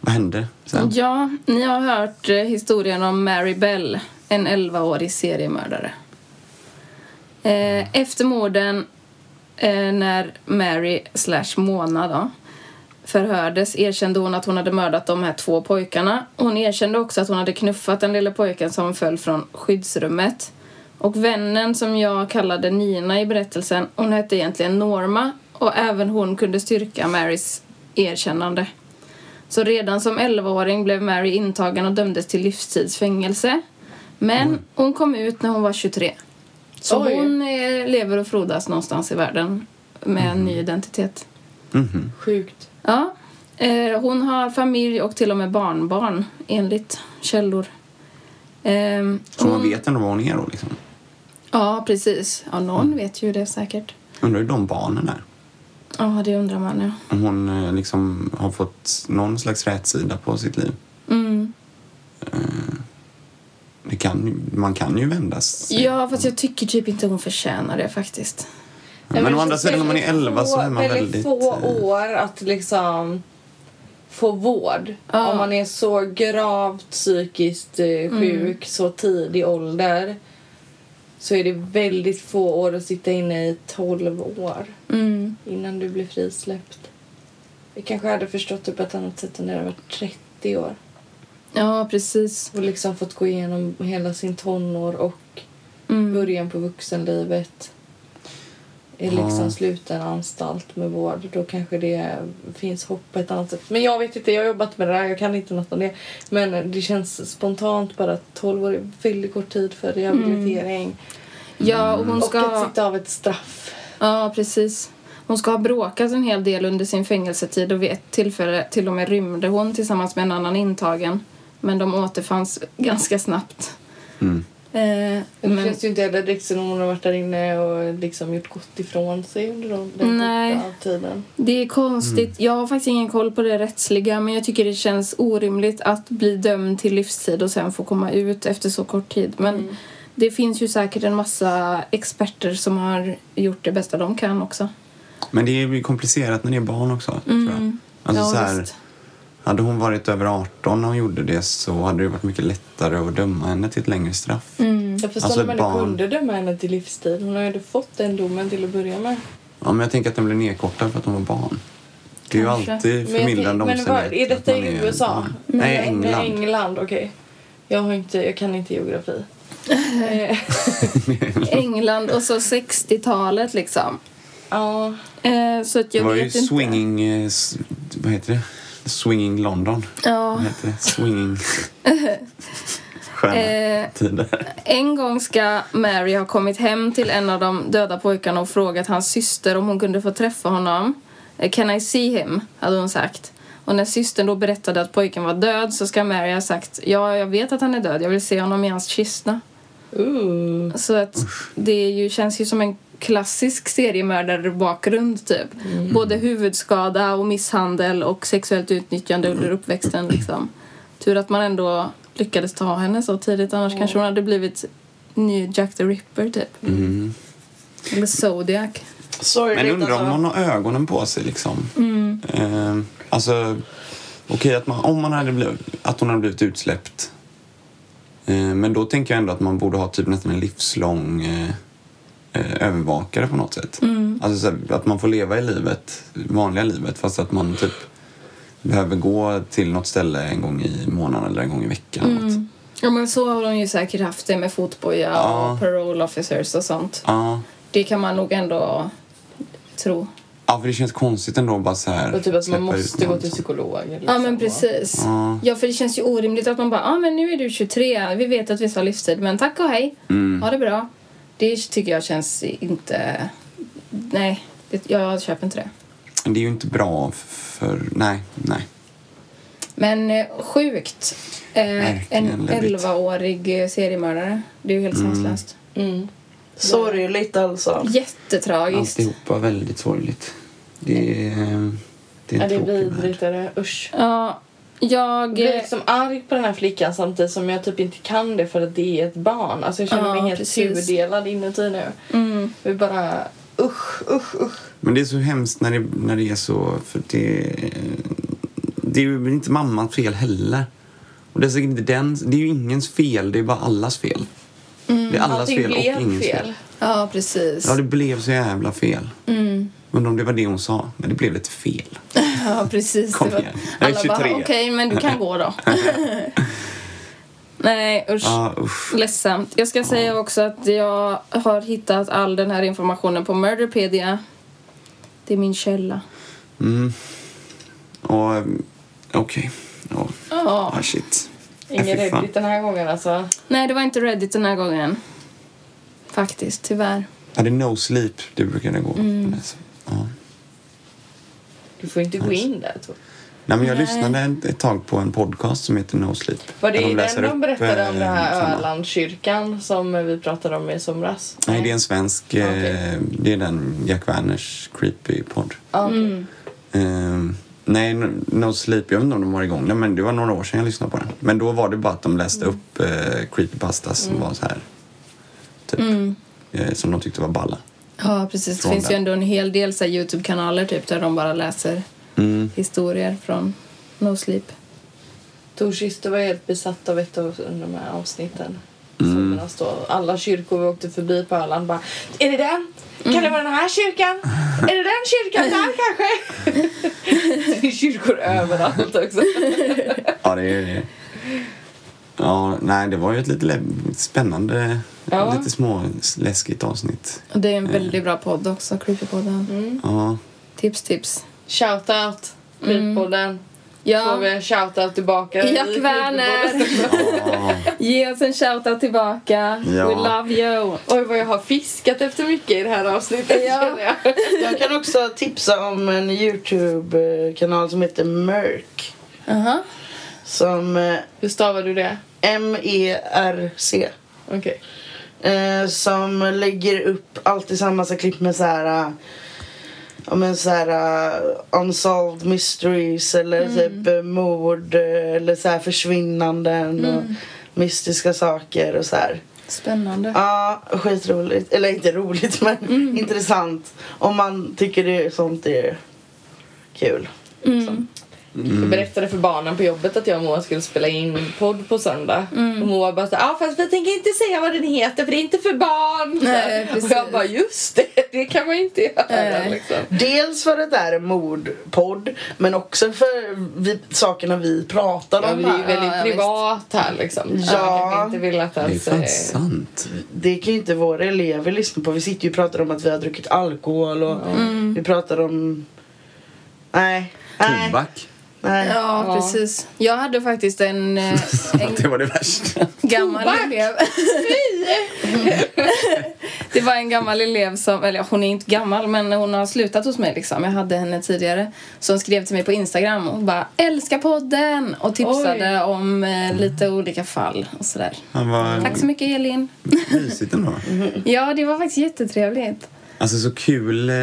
Speaker 1: Vad hände sen?
Speaker 2: Ja, ni har hört eh, historien om Mary Bell, en 11-årig seriemördare. Eh, efter morden, eh, när Mary slash Mona då förhördes erkände hon att hon hade mördat de här två pojkarna. Hon erkände också att hon hade knuffat den lilla pojken som föll från skyddsrummet. Och vännen som jag kallade Nina i berättelsen, hon hette egentligen Norma och även hon kunde styrka Marys erkännande. Så redan som 11-åring blev Mary intagen och dömdes till livstidsfängelse. Men hon kom ut när hon var 23. Så
Speaker 3: Mm. Oj.
Speaker 2: hon eh, lever och frodas någonstans i världen med
Speaker 3: Mm.
Speaker 2: en ny identitet.
Speaker 3: Sjukt.
Speaker 2: Ja. Eh, hon har familj och till och med barnbarn enligt källor. Ehm,
Speaker 1: Så man vet ändå var hon är då, liksom.
Speaker 2: ja, precis. Ja, någon
Speaker 3: Mm.
Speaker 2: vet ju det säkert.
Speaker 1: Undrar hur de barnen är.
Speaker 2: Ja, det undrar man ja.
Speaker 1: Om hon eh, liksom har fått någon slags rätsida på sitt liv. Eh, Det kan, ju- man kan ju vändas.
Speaker 2: Ja, fast jag tycker typ inte hon förtjänar det faktiskt.
Speaker 1: Men å andra sidan, om man eh, är
Speaker 3: Väldigt
Speaker 1: 11 så
Speaker 3: få-
Speaker 1: är man väldigt...
Speaker 3: få
Speaker 1: eh,
Speaker 3: år att liksom få vård. Om man är så gravt psykiskt eh, sjuk
Speaker 1: Mm.
Speaker 3: så tidig ålder så är det väldigt få år att sitta inne i 12 år
Speaker 1: Mm.
Speaker 3: innan du blir frisläppt. Vi kanske hade förstått det på ett annat sätt än det hade varit 30 år
Speaker 5: Ja, precis.
Speaker 3: och liksom fått gå igenom hela sin tonår och
Speaker 2: Mm.
Speaker 3: början på vuxenlivet i liksom sluten anstalt med vård. Då kanske det finns hopp på ett annat sätt. Men jag vet inte, jag har jobbat med det där, jag kan inte något om det. Men det känns spontant bara att 12 år är väldigt kort tid för rehabilitering.
Speaker 2: Ja, Mm. och hon
Speaker 3: Och att
Speaker 2: ska...
Speaker 3: sitta av ett straff.
Speaker 2: Ja, precis. Hon ska ha bråkat en hel del under sin fängelsetid och vid ett tillfälle till och med rymde hon tillsammans med en annan intagen. Men de återfanns ganska snabbt. Eh,
Speaker 3: Men det
Speaker 2: men,
Speaker 3: känns ju inte heller direkt som om hon har varit där inne och liksom gjort gott ifrån sig under de- den
Speaker 2: Nej.
Speaker 3: korta tiden.
Speaker 2: Det är konstigt. Jag har faktiskt ingen koll på det rättsliga men jag tycker det känns orimligt att bli dömd till livstid och sen få komma ut efter så kort tid. Men det finns ju säkert en massa experter som har gjort det bästa de kan också.
Speaker 1: Men det är ju komplicerat när det är barn också, tror jag. Alltså,
Speaker 2: Ja,
Speaker 1: så här,
Speaker 2: visst.
Speaker 1: hade hon varit över 18 när hon gjorde det så hade det varit mycket lättare att döma henne till ett längre straff.
Speaker 2: Mm.
Speaker 3: Jag förstår
Speaker 1: Alltså,
Speaker 3: alltså, man
Speaker 1: barn-
Speaker 3: kunde döma henne till livstid. Hon har ju ändå fått den domen till att börja med.
Speaker 1: Ja, men jag tänker att den blev nedkortad för att hon var barn. Det är ju
Speaker 2: Kanske.
Speaker 1: alltid
Speaker 3: Men, jag,
Speaker 1: förmildrande
Speaker 3: tänk- men var, är
Speaker 1: omständigheter
Speaker 3: detta
Speaker 1: att man
Speaker 3: i
Speaker 1: är
Speaker 3: USA? Mm.
Speaker 1: barn. Nej, England.
Speaker 3: Nej, England, okej. Jag, har inte, jag kan inte geografi. Eh,
Speaker 2: England och så 60-talet liksom.
Speaker 3: Ja,
Speaker 2: Eh, så att
Speaker 1: Det
Speaker 2: jag
Speaker 1: var
Speaker 2: vet
Speaker 1: ju
Speaker 2: inte.
Speaker 1: swinging... eh, s- Vad heter det? Swinging London.
Speaker 2: Ja.
Speaker 1: Vad heter det? Swinging... Stjärntider.
Speaker 2: eh, En gång ska Mary ha kommit hem till en av de döda pojkarna och frågat hans syster om hon kunde få träffa honom. Eh, Can I see him? hade hon sagt. Och när systern då berättade att pojken var död så ska Mary ha sagt Ja, jag vet att han är död. Jag vill se honom i hans kista. Så att det är ju, känns ju som en klassisk seriemördarbakgrund typ. Både huvudskada och misshandel och sexuellt utnyttjande under uppväxten liksom. Tur att man ändå lyckades ta henne så tidigt annars kanske hon hade blivit ny Jack the Ripper typ. Eller Zodiac.
Speaker 1: Men
Speaker 4: Sorgligt
Speaker 1: undrar om
Speaker 4: alltså.
Speaker 1: man har ögonen på sig liksom.
Speaker 3: Mm.
Speaker 1: Eh, alltså, okej att man, om man hade blivit, att hon hade blivit utsläppt. Eh, men då tänker jag ändå att man borde ha typ nästan en livslång eh, eh, övervakare på något sätt.
Speaker 3: Mm.
Speaker 1: Alltså så här, att man får leva i livet, vanliga livet, fast att man typ behöver gå till något ställe en gång i månaden eller en gång i veckan. eller något.
Speaker 3: Mm.
Speaker 2: Ja men så har hon ju säkert haft det med fotboja
Speaker 1: Ja.
Speaker 2: och parole officers och sånt.
Speaker 1: Ja.
Speaker 2: Det kan man nog ändå tro.
Speaker 1: ja, för det känns konstigt ändå bara så här.
Speaker 3: och typ att man
Speaker 1: släppa ut
Speaker 3: måste gå
Speaker 1: någon.
Speaker 3: till psykolog. Liksom.
Speaker 2: Ja men precis. Ja för det känns ju orimligt att man bara, ja ah, men nu är du 23, vi vet att vi sa livstid men tack och hej.
Speaker 1: Mm.
Speaker 2: Ha det bra. Det tycker jag känns inte, nej, det, jag köper inte det.
Speaker 1: Det är ju inte bra för... Nej, nej.
Speaker 2: Men eh, sjukt. Eh,
Speaker 1: Verkligen
Speaker 2: en
Speaker 1: läbbigt. Mm.
Speaker 2: 11-årig eh, seriemördare. Det är ju helt sanslöst.
Speaker 4: Sorgligt alltså.
Speaker 2: Jättetragiskt.
Speaker 1: Alltihopa väldigt sorgligt. Det är, det är
Speaker 3: Ja,
Speaker 1: en
Speaker 3: det är
Speaker 1: tråkig
Speaker 3: vidrigt.
Speaker 1: värld.
Speaker 3: Är det. Usch.
Speaker 2: Ja, jag... eh,
Speaker 3: Jag blir liksom arg på den här flickan samtidigt som jag typ inte kan det för att det är ett barn. Alltså jag känner
Speaker 2: Ja,
Speaker 3: mig helt
Speaker 2: precis.
Speaker 3: tudelad inuti nu. Mm. Vi bara usch, usch, usch.
Speaker 1: Men det är så hemskt när det, när det är så. För det, eh, det är ju inte mammans fel heller. Och det är, säkert inte dens, det är ju ingens fel, det är bara allas fel. Det är allas
Speaker 3: Mm, Allting
Speaker 1: fel och
Speaker 3: blev
Speaker 1: ingens fel.
Speaker 3: fel.
Speaker 2: Ja, precis.
Speaker 1: Ja, det blev så jävla fel.
Speaker 3: Mm.
Speaker 1: Undrar om det var det hon sa. Men det blev lite fel.
Speaker 2: Ja, precis.
Speaker 1: Kom
Speaker 2: Det var-
Speaker 1: igen. Jag är
Speaker 2: Alla bara,
Speaker 1: 23.
Speaker 2: okej, men du kan gå då. Nej, usch.
Speaker 1: Ja, usch.
Speaker 2: Ledsamt. Jag ska säga också att jag har hittat all den här informationen på Murderpedia. Det är min källa.
Speaker 1: Och mm, okej. Ja.
Speaker 2: Ja.
Speaker 1: Ah, shit. Ja,
Speaker 3: Ingen
Speaker 1: fy fan.
Speaker 3: Reddit den här gången alltså.
Speaker 2: Nej, det var inte Reddit den här gången. Faktiskt, tyvärr.
Speaker 1: Ja, det är no sleep. Det brukar det gå.
Speaker 3: Mm.
Speaker 1: Alltså, Ja.
Speaker 3: Du får inte gå in där. Tror jag.
Speaker 1: Nej, men jag
Speaker 2: Nej.
Speaker 1: lyssnade ett, ett tag på en podcast som heter No Sleep.
Speaker 3: Var det
Speaker 1: Där
Speaker 3: i
Speaker 1: läser
Speaker 3: den de
Speaker 1: upp,
Speaker 3: berättade om
Speaker 1: eh,
Speaker 3: den här
Speaker 1: samma-
Speaker 3: Ölandskyrkan som vi pratade om i somras?
Speaker 1: Nej, det är en svensk.
Speaker 3: Ah, okej.
Speaker 1: Eh, det är den Jack Werners creepy-podd.
Speaker 3: Ja, Ah, okej.
Speaker 1: Eh, nej, No- No Sleep. Jag vet inte om de var igång den, men det var några år sedan jag lyssnade på den. Men då var det bara att de läste
Speaker 3: Mm.
Speaker 1: upp eh, creepypastas som var så här. Typ.
Speaker 3: Mm.
Speaker 1: Eh, som de tyckte var balla.
Speaker 2: Ja, precis. Det
Speaker 1: Från
Speaker 2: finns ju
Speaker 1: den.
Speaker 2: ändå en hel del så här, Youtube-kanaler typ, där de bara läser historier från No sleep.
Speaker 3: Tor Schyster var helt besatt av ett av de här avsnitten.
Speaker 1: Mm.
Speaker 3: Som han står. Alla kyrkor vi åkte förbi på Öland bara Är det den? Kan det vara den här kyrkan? Är det den kyrkan där kanske? det är kyrkor överallt också.
Speaker 1: Ja, det är det. Ja, nej, det var ju ett lite lä- spännande,
Speaker 3: Ja.
Speaker 1: lite små läskigt avsnitt.
Speaker 2: Och det är en väldigt bra podd också, Creepypodden.
Speaker 3: Mm.
Speaker 1: Ja,
Speaker 2: Tips, tips.
Speaker 3: Shoutout Creepodden. Får vi
Speaker 2: Ja,
Speaker 3: en shoutout tillbaka? i
Speaker 2: Jack Werner! Ge oss en shoutout tillbaka.
Speaker 1: Ja.
Speaker 2: We love you.
Speaker 3: Oj vad jag har fiskat efter mycket i det här avsnittet
Speaker 2: Ja.
Speaker 3: känner jag.
Speaker 4: Jag kan också tipsa om en Youtube-kanal som heter Merk.
Speaker 3: Aha.
Speaker 4: Som eh,
Speaker 3: Hur stavar du det?
Speaker 4: M-E-R-C.
Speaker 3: Okej.
Speaker 4: Eh, som lägger upp alltid samma massa klipp med så här... eh, Ja men så här eh, unsolved mysteries eller
Speaker 3: Mm.
Speaker 4: typ eh, mord eh, eller så här försvinnanden och
Speaker 3: Mm.
Speaker 4: mystiska saker och så här.
Speaker 2: Spännande.
Speaker 4: Ja, skitroligt. Eller inte roligt, men intressant. Om man tycker det är sånt är kul.
Speaker 3: Jag berättade för barnen på jobbet att jag och Moa skulle spela in podd på söndag. Och Moa bara såhär, ah, fast vi tänker inte säga vad den heter för det är inte för barn.
Speaker 2: Nej,
Speaker 3: och
Speaker 2: precis.
Speaker 3: jag bara, just det, det kan man ju inte göra.
Speaker 2: Nej.
Speaker 3: Liksom.
Speaker 4: Dels för att det är en mordpodd, men också för vi, sakerna vi pratar
Speaker 3: Ja,
Speaker 4: om
Speaker 3: men det är ju
Speaker 4: här.
Speaker 3: väldigt
Speaker 2: ja, visst.
Speaker 3: privat här liksom.
Speaker 4: Ja.
Speaker 3: Jag kanske inte vill att
Speaker 1: det är
Speaker 3: ens...
Speaker 1: fan
Speaker 3: eh,
Speaker 1: sant.
Speaker 4: Det kan ju inte våra elever lyssna på. Vi sitter ju och pratar om att vi har druckit alkohol och vi pratar om... Nej. Nej.
Speaker 1: Tobak.
Speaker 4: Nej.
Speaker 2: Ja,
Speaker 3: Ja.
Speaker 2: precis. Jag hade faktiskt en, eh, en
Speaker 1: Det var det värsta.
Speaker 2: gammal elev. det var en gammal elev som, eller ja, hon är inte gammal men hon har slutat hos mig liksom. Jag hade henne tidigare. Som skrev till mig på Instagram och bara älskar podden och tipsade om eh, lite olika fall och sådär.
Speaker 1: Han var
Speaker 2: Tack så mycket Elin.
Speaker 1: mysigt ändå.
Speaker 2: Ja, det var faktiskt jättetrevligt.
Speaker 1: Alltså så kul. eh,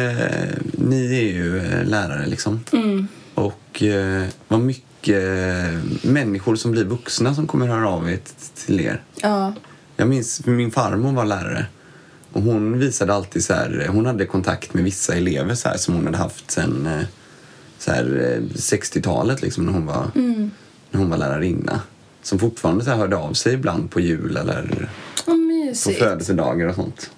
Speaker 1: Ni är ju eh, lärare liksom. Och eh, vad mycket eh, människor som blir vuxna som kommer höra av er t- till er.
Speaker 2: Ja.
Speaker 1: Jag minns min farmor var lärare. Och hon visade alltid så här, hon hade kontakt med vissa elever så här, som hon hade haft sen eh, så här, eh, 60-talet liksom, när, hon var,
Speaker 3: Mm.
Speaker 1: när hon var lärarinna. Som fortfarande så här, hörde av sig ibland på jul eller
Speaker 2: Vad
Speaker 1: på
Speaker 2: mysigt.
Speaker 1: födelsedagar och sånt.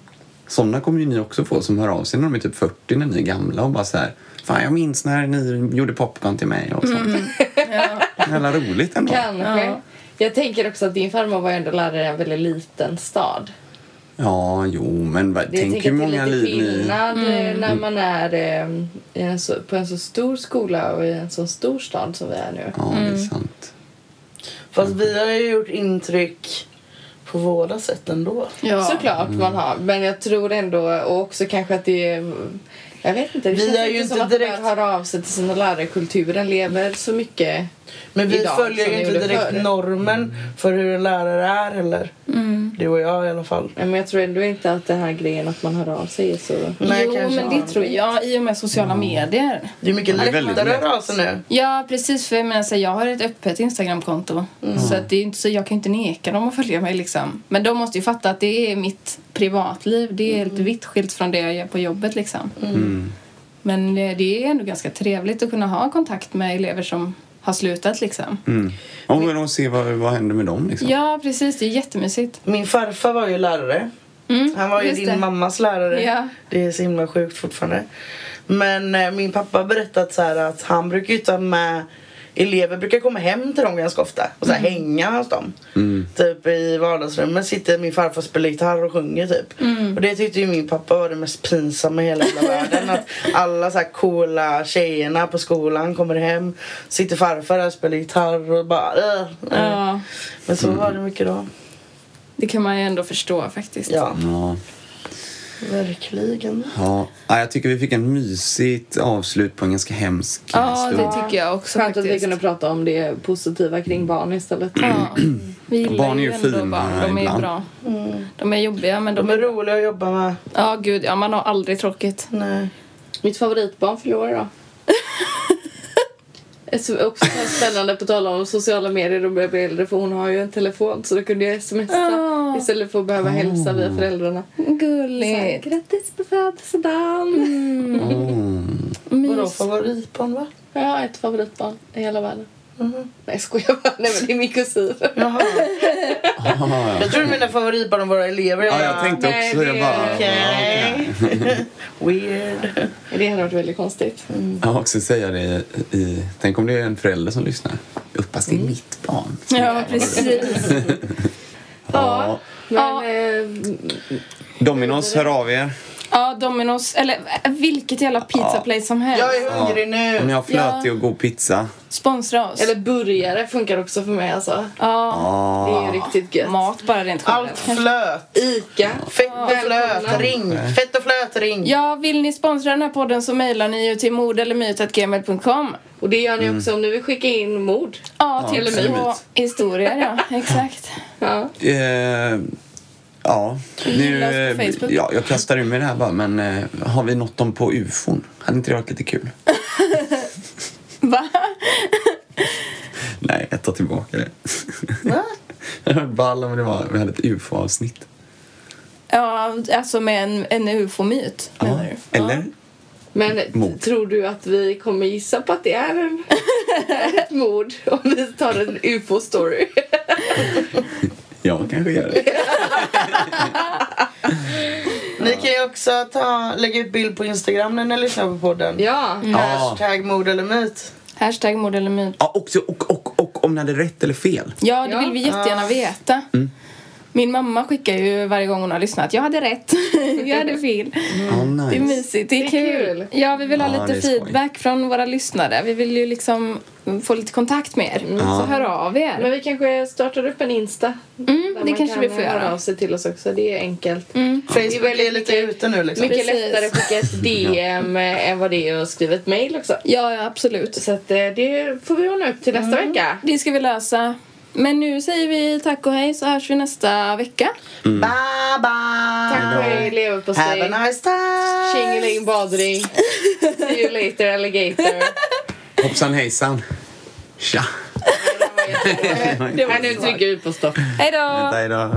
Speaker 1: Sådana kommer ju ni också få som hör av sig när de är typ 40 när ni är gamla och bara så här Fan jag minns när ni gjorde popcorn till mig och sånt.
Speaker 3: Mm.
Speaker 1: Jävla roligt ändå.
Speaker 3: Kanske. Jag tänker också att din farmor var ju ändå lärare i en väldigt liten stad.
Speaker 1: Ja, jo men va,
Speaker 3: Det jag
Speaker 1: tänk
Speaker 3: tänker
Speaker 1: hur
Speaker 3: att
Speaker 1: många
Speaker 3: det är lite
Speaker 1: liv ni...
Speaker 3: skillnad eh, när man är eh, i en så, på en så stor skola och i en så stor stad som vi är nu.
Speaker 1: Ja,
Speaker 2: Mm.
Speaker 1: det är sant.
Speaker 4: Fast vi har ju gjort intryck på våra sätt ändå.
Speaker 2: Ja.
Speaker 3: Såklart
Speaker 4: Mm.
Speaker 3: man har. Men jag tror ändå, och också kanske att det är... Jag vet inte. Det
Speaker 4: Vi
Speaker 3: känns
Speaker 4: är ju
Speaker 3: inte som
Speaker 4: inte
Speaker 3: direkt...
Speaker 4: direkt-
Speaker 3: att man hör av sig till sina lärare. Kulturen lever så mycket.
Speaker 4: Men vi
Speaker 3: idag
Speaker 4: följer
Speaker 3: som
Speaker 4: ju
Speaker 3: vi
Speaker 4: inte
Speaker 3: gjorde
Speaker 4: direkt
Speaker 3: förr.
Speaker 4: normen för hur en lärare är heller.
Speaker 2: Mm.
Speaker 4: Du och jag i alla fall.
Speaker 3: Nej, Men jag tror ändå inte att den här grejen att man hör av sig är så...
Speaker 4: Nej,
Speaker 2: jo,
Speaker 4: kanske
Speaker 2: men det
Speaker 4: har-
Speaker 2: tror jag i och med sociala medier.
Speaker 4: Det är mycket
Speaker 1: Det är väldigt
Speaker 4: lättare att
Speaker 1: lätt.
Speaker 4: höra av sig nu.
Speaker 2: Ja, precis. För jag, menar, så här, jag har ett öppet Instagramkonto.
Speaker 3: Mm.
Speaker 2: Så, att det är inte, så jag kan ju inte neka dem att följa mig. Liksom. Men de måste ju fatta att det är mitt privatliv. Det är
Speaker 3: Mm.
Speaker 2: helt vitt skilt från det jag gör på jobbet. Liksom.
Speaker 1: Mm.
Speaker 2: Men eh, det är ändå ganska trevligt att kunna ha kontakt med elever som har slutat. Liksom.
Speaker 1: Mm. Och men att se vad, vad händer med dem liksom.
Speaker 2: Ja, precis. Det är jättemysigt.
Speaker 4: Min farfar var ju lärare. Han var ju
Speaker 2: Mm, just
Speaker 4: din
Speaker 2: det.
Speaker 4: mammas lärare.
Speaker 2: Ja.
Speaker 4: Det är så himla sjukt fortfarande. Men eh, min pappa har berättat så här att han brukar ju ta med Elever brukar komma hem till dem ganska ofta och så här
Speaker 2: Mm.
Speaker 4: hänga hos dem. Typ i vardagsrummet sitter min farfar och spelar gitarr och sjunger typ.
Speaker 2: Mm.
Speaker 4: Och det tyckte ju min pappa var det mest pinsamma i hela jävla världen. Att alla så här coola tjejerna på skolan kommer hem, sitter farfar där och spelar gitarr och bara... "Ugh, nej."
Speaker 2: Ja,
Speaker 4: Men så var det mycket då.
Speaker 2: det kan man ju ändå förstå faktiskt.
Speaker 4: Ja.
Speaker 1: Ja.
Speaker 4: Verkligen.
Speaker 1: Ja. ja, jag tycker vi fick en mysigt avslut på en ganska hemsk
Speaker 2: Ja,
Speaker 1: stund.
Speaker 2: det tycker jag också
Speaker 3: Skönt att vi
Speaker 2: faktiskt.
Speaker 3: kunde prata om det positiva kring barn istället.
Speaker 2: Ja. Vi gillar
Speaker 1: Barn är ju
Speaker 2: ändå
Speaker 1: fina
Speaker 2: barn. De är ju
Speaker 1: ibland.
Speaker 2: bra.
Speaker 3: Mm.
Speaker 2: De är jobbiga, men de,
Speaker 4: De är roliga att jobba med.
Speaker 2: Ja, gud. Ja, man har aldrig tråkigt.
Speaker 4: Nej.
Speaker 3: Mitt favoritbarn förlorar då. Det är så- också så här spännande på tal om sociala medier och börjar bli äldre för hon har ju en telefon så då kunde jag smsa
Speaker 2: Ah.
Speaker 3: istället för att behöva hälsa
Speaker 4: Mm.
Speaker 3: via föräldrarna.
Speaker 2: Gulligt.
Speaker 3: Grattis på födelsedagen!
Speaker 1: Mm.
Speaker 4: Vadå favoritbarn va? Mm-hmm.
Speaker 3: Jag har ett favoritbarn i hela världen. Nej, jag skojar bara. Nej, men det är min kusin.
Speaker 4: Jaha. Jag tror du menar favoritbarn av våra elever. Jag
Speaker 1: Ja,
Speaker 4: bara,
Speaker 1: jag tänkte
Speaker 3: Nej,
Speaker 1: också det.
Speaker 3: det-
Speaker 1: Jag bara, ja,
Speaker 4: Okej.
Speaker 1: okej.
Speaker 4: Weird.
Speaker 3: Det hade varit väldigt konstigt.
Speaker 4: Mm.
Speaker 1: Jag har också säga det i, i... Tänk om det är en förälder som lyssnar. Uppas,
Speaker 2: Mm.
Speaker 1: det är mitt barn.
Speaker 6: Ja, precis.
Speaker 1: Ja.
Speaker 6: Ja.
Speaker 3: Men, eh,
Speaker 1: Dominos, hör av er.
Speaker 6: Ja, Domino's, eller vilket jävla pizza place som helst.
Speaker 4: Jag är hungrig
Speaker 1: Om ni
Speaker 4: nu.
Speaker 1: har flötig och god pizza.
Speaker 6: Sponsra oss.
Speaker 3: eller burgare funkar också för mig. Alltså.
Speaker 6: ja,
Speaker 3: Det är ju riktigt gött.
Speaker 6: mat bara rent
Speaker 4: Allt
Speaker 6: generellt.
Speaker 4: flöt.
Speaker 3: Ica.
Speaker 4: Fett och flöt. Ring. Fett och flöt. Ring.
Speaker 6: Ja, vill ni sponsra den här podden så mejlar ni ju till mordellermyt.gmail.com.
Speaker 3: Och det gör ni
Speaker 1: Mm.
Speaker 3: också om ni vill skicka in mord.
Speaker 6: Ja, till
Speaker 1: eller
Speaker 6: och med
Speaker 1: myt.
Speaker 6: historier, ja. Exakt.
Speaker 3: Ja.
Speaker 1: Eh, ja, nu,
Speaker 6: Gilla oss på
Speaker 1: eh,
Speaker 6: Facebook.
Speaker 1: ja, jag kastar ur mig det här bara, men eh, har vi nått dem på ufon? Hade inte det varit lite kul?
Speaker 6: Va?
Speaker 1: Nej, jag tar tillbaka det. Det var ball om det var, vi hade ett ufo-avsnitt.
Speaker 6: Ja, alltså med en, en ufo-myt, menar du?
Speaker 1: Eller?
Speaker 3: Men
Speaker 1: Mord.
Speaker 3: tror du att vi kommer gissa på att det är en, ett mord om vi tar en ufo-story?
Speaker 1: Jag kanske gör det.
Speaker 4: Ni kan ju också ta, lägga ut bild på Instagram när ni lyssnar på podden.
Speaker 3: Ja.
Speaker 4: Hashtag mord eller myt.
Speaker 6: Hashtag mord eller myt.
Speaker 1: Ja, också, och, och, och om ni hade rätt eller fel.
Speaker 6: Ja, det
Speaker 3: Ja. Ah.
Speaker 6: vill vi jättegärna veta.
Speaker 1: Mm.
Speaker 6: Min mamma skickar ju varje gång hon har lyssnat. Jag hade rätt. Jag hade fel.
Speaker 1: Ja,
Speaker 6: Det är
Speaker 1: nice.
Speaker 6: mysigt. Det är,
Speaker 3: Det är
Speaker 6: kul.
Speaker 3: kul.
Speaker 6: Ja, vi vill ha
Speaker 1: Ja, Ah, det är
Speaker 6: lite
Speaker 1: skoj.
Speaker 6: feedback från våra lyssnare. Vi vill ju liksom få lite kontakt med er.
Speaker 1: Mm.
Speaker 6: Så hör av er.
Speaker 3: Men vi kanske startar upp en Insta.
Speaker 6: Mm,
Speaker 3: där
Speaker 6: det
Speaker 3: man
Speaker 6: kanske
Speaker 3: kan
Speaker 6: vi får
Speaker 3: höra
Speaker 6: göra. Mm.
Speaker 3: av sig till oss också. Det är enkelt.
Speaker 4: Facebook är lite ute nu liksom.
Speaker 3: Mycket
Speaker 6: Precis.
Speaker 3: lättare att skicka ett DM än vad det är att skriva ett mejl också.
Speaker 6: Ja, ja, absolut.
Speaker 3: Så att, eh, det får vi ordna upp till nästa vecka.
Speaker 6: Det ska vi lösa. Men nu säger vi tack och hej så hörs vi nästa vecka.
Speaker 1: Mm.
Speaker 4: Bye
Speaker 3: Tack
Speaker 4: bye.
Speaker 3: för er leverpastej.
Speaker 4: Have a nice time.
Speaker 3: Tjingeling badring. See you later alligator.
Speaker 1: Hoppsan hejsan. Tja.
Speaker 3: Nej, nu trycker vi på stopp.
Speaker 6: Hej då!
Speaker 1: Vänta, idag.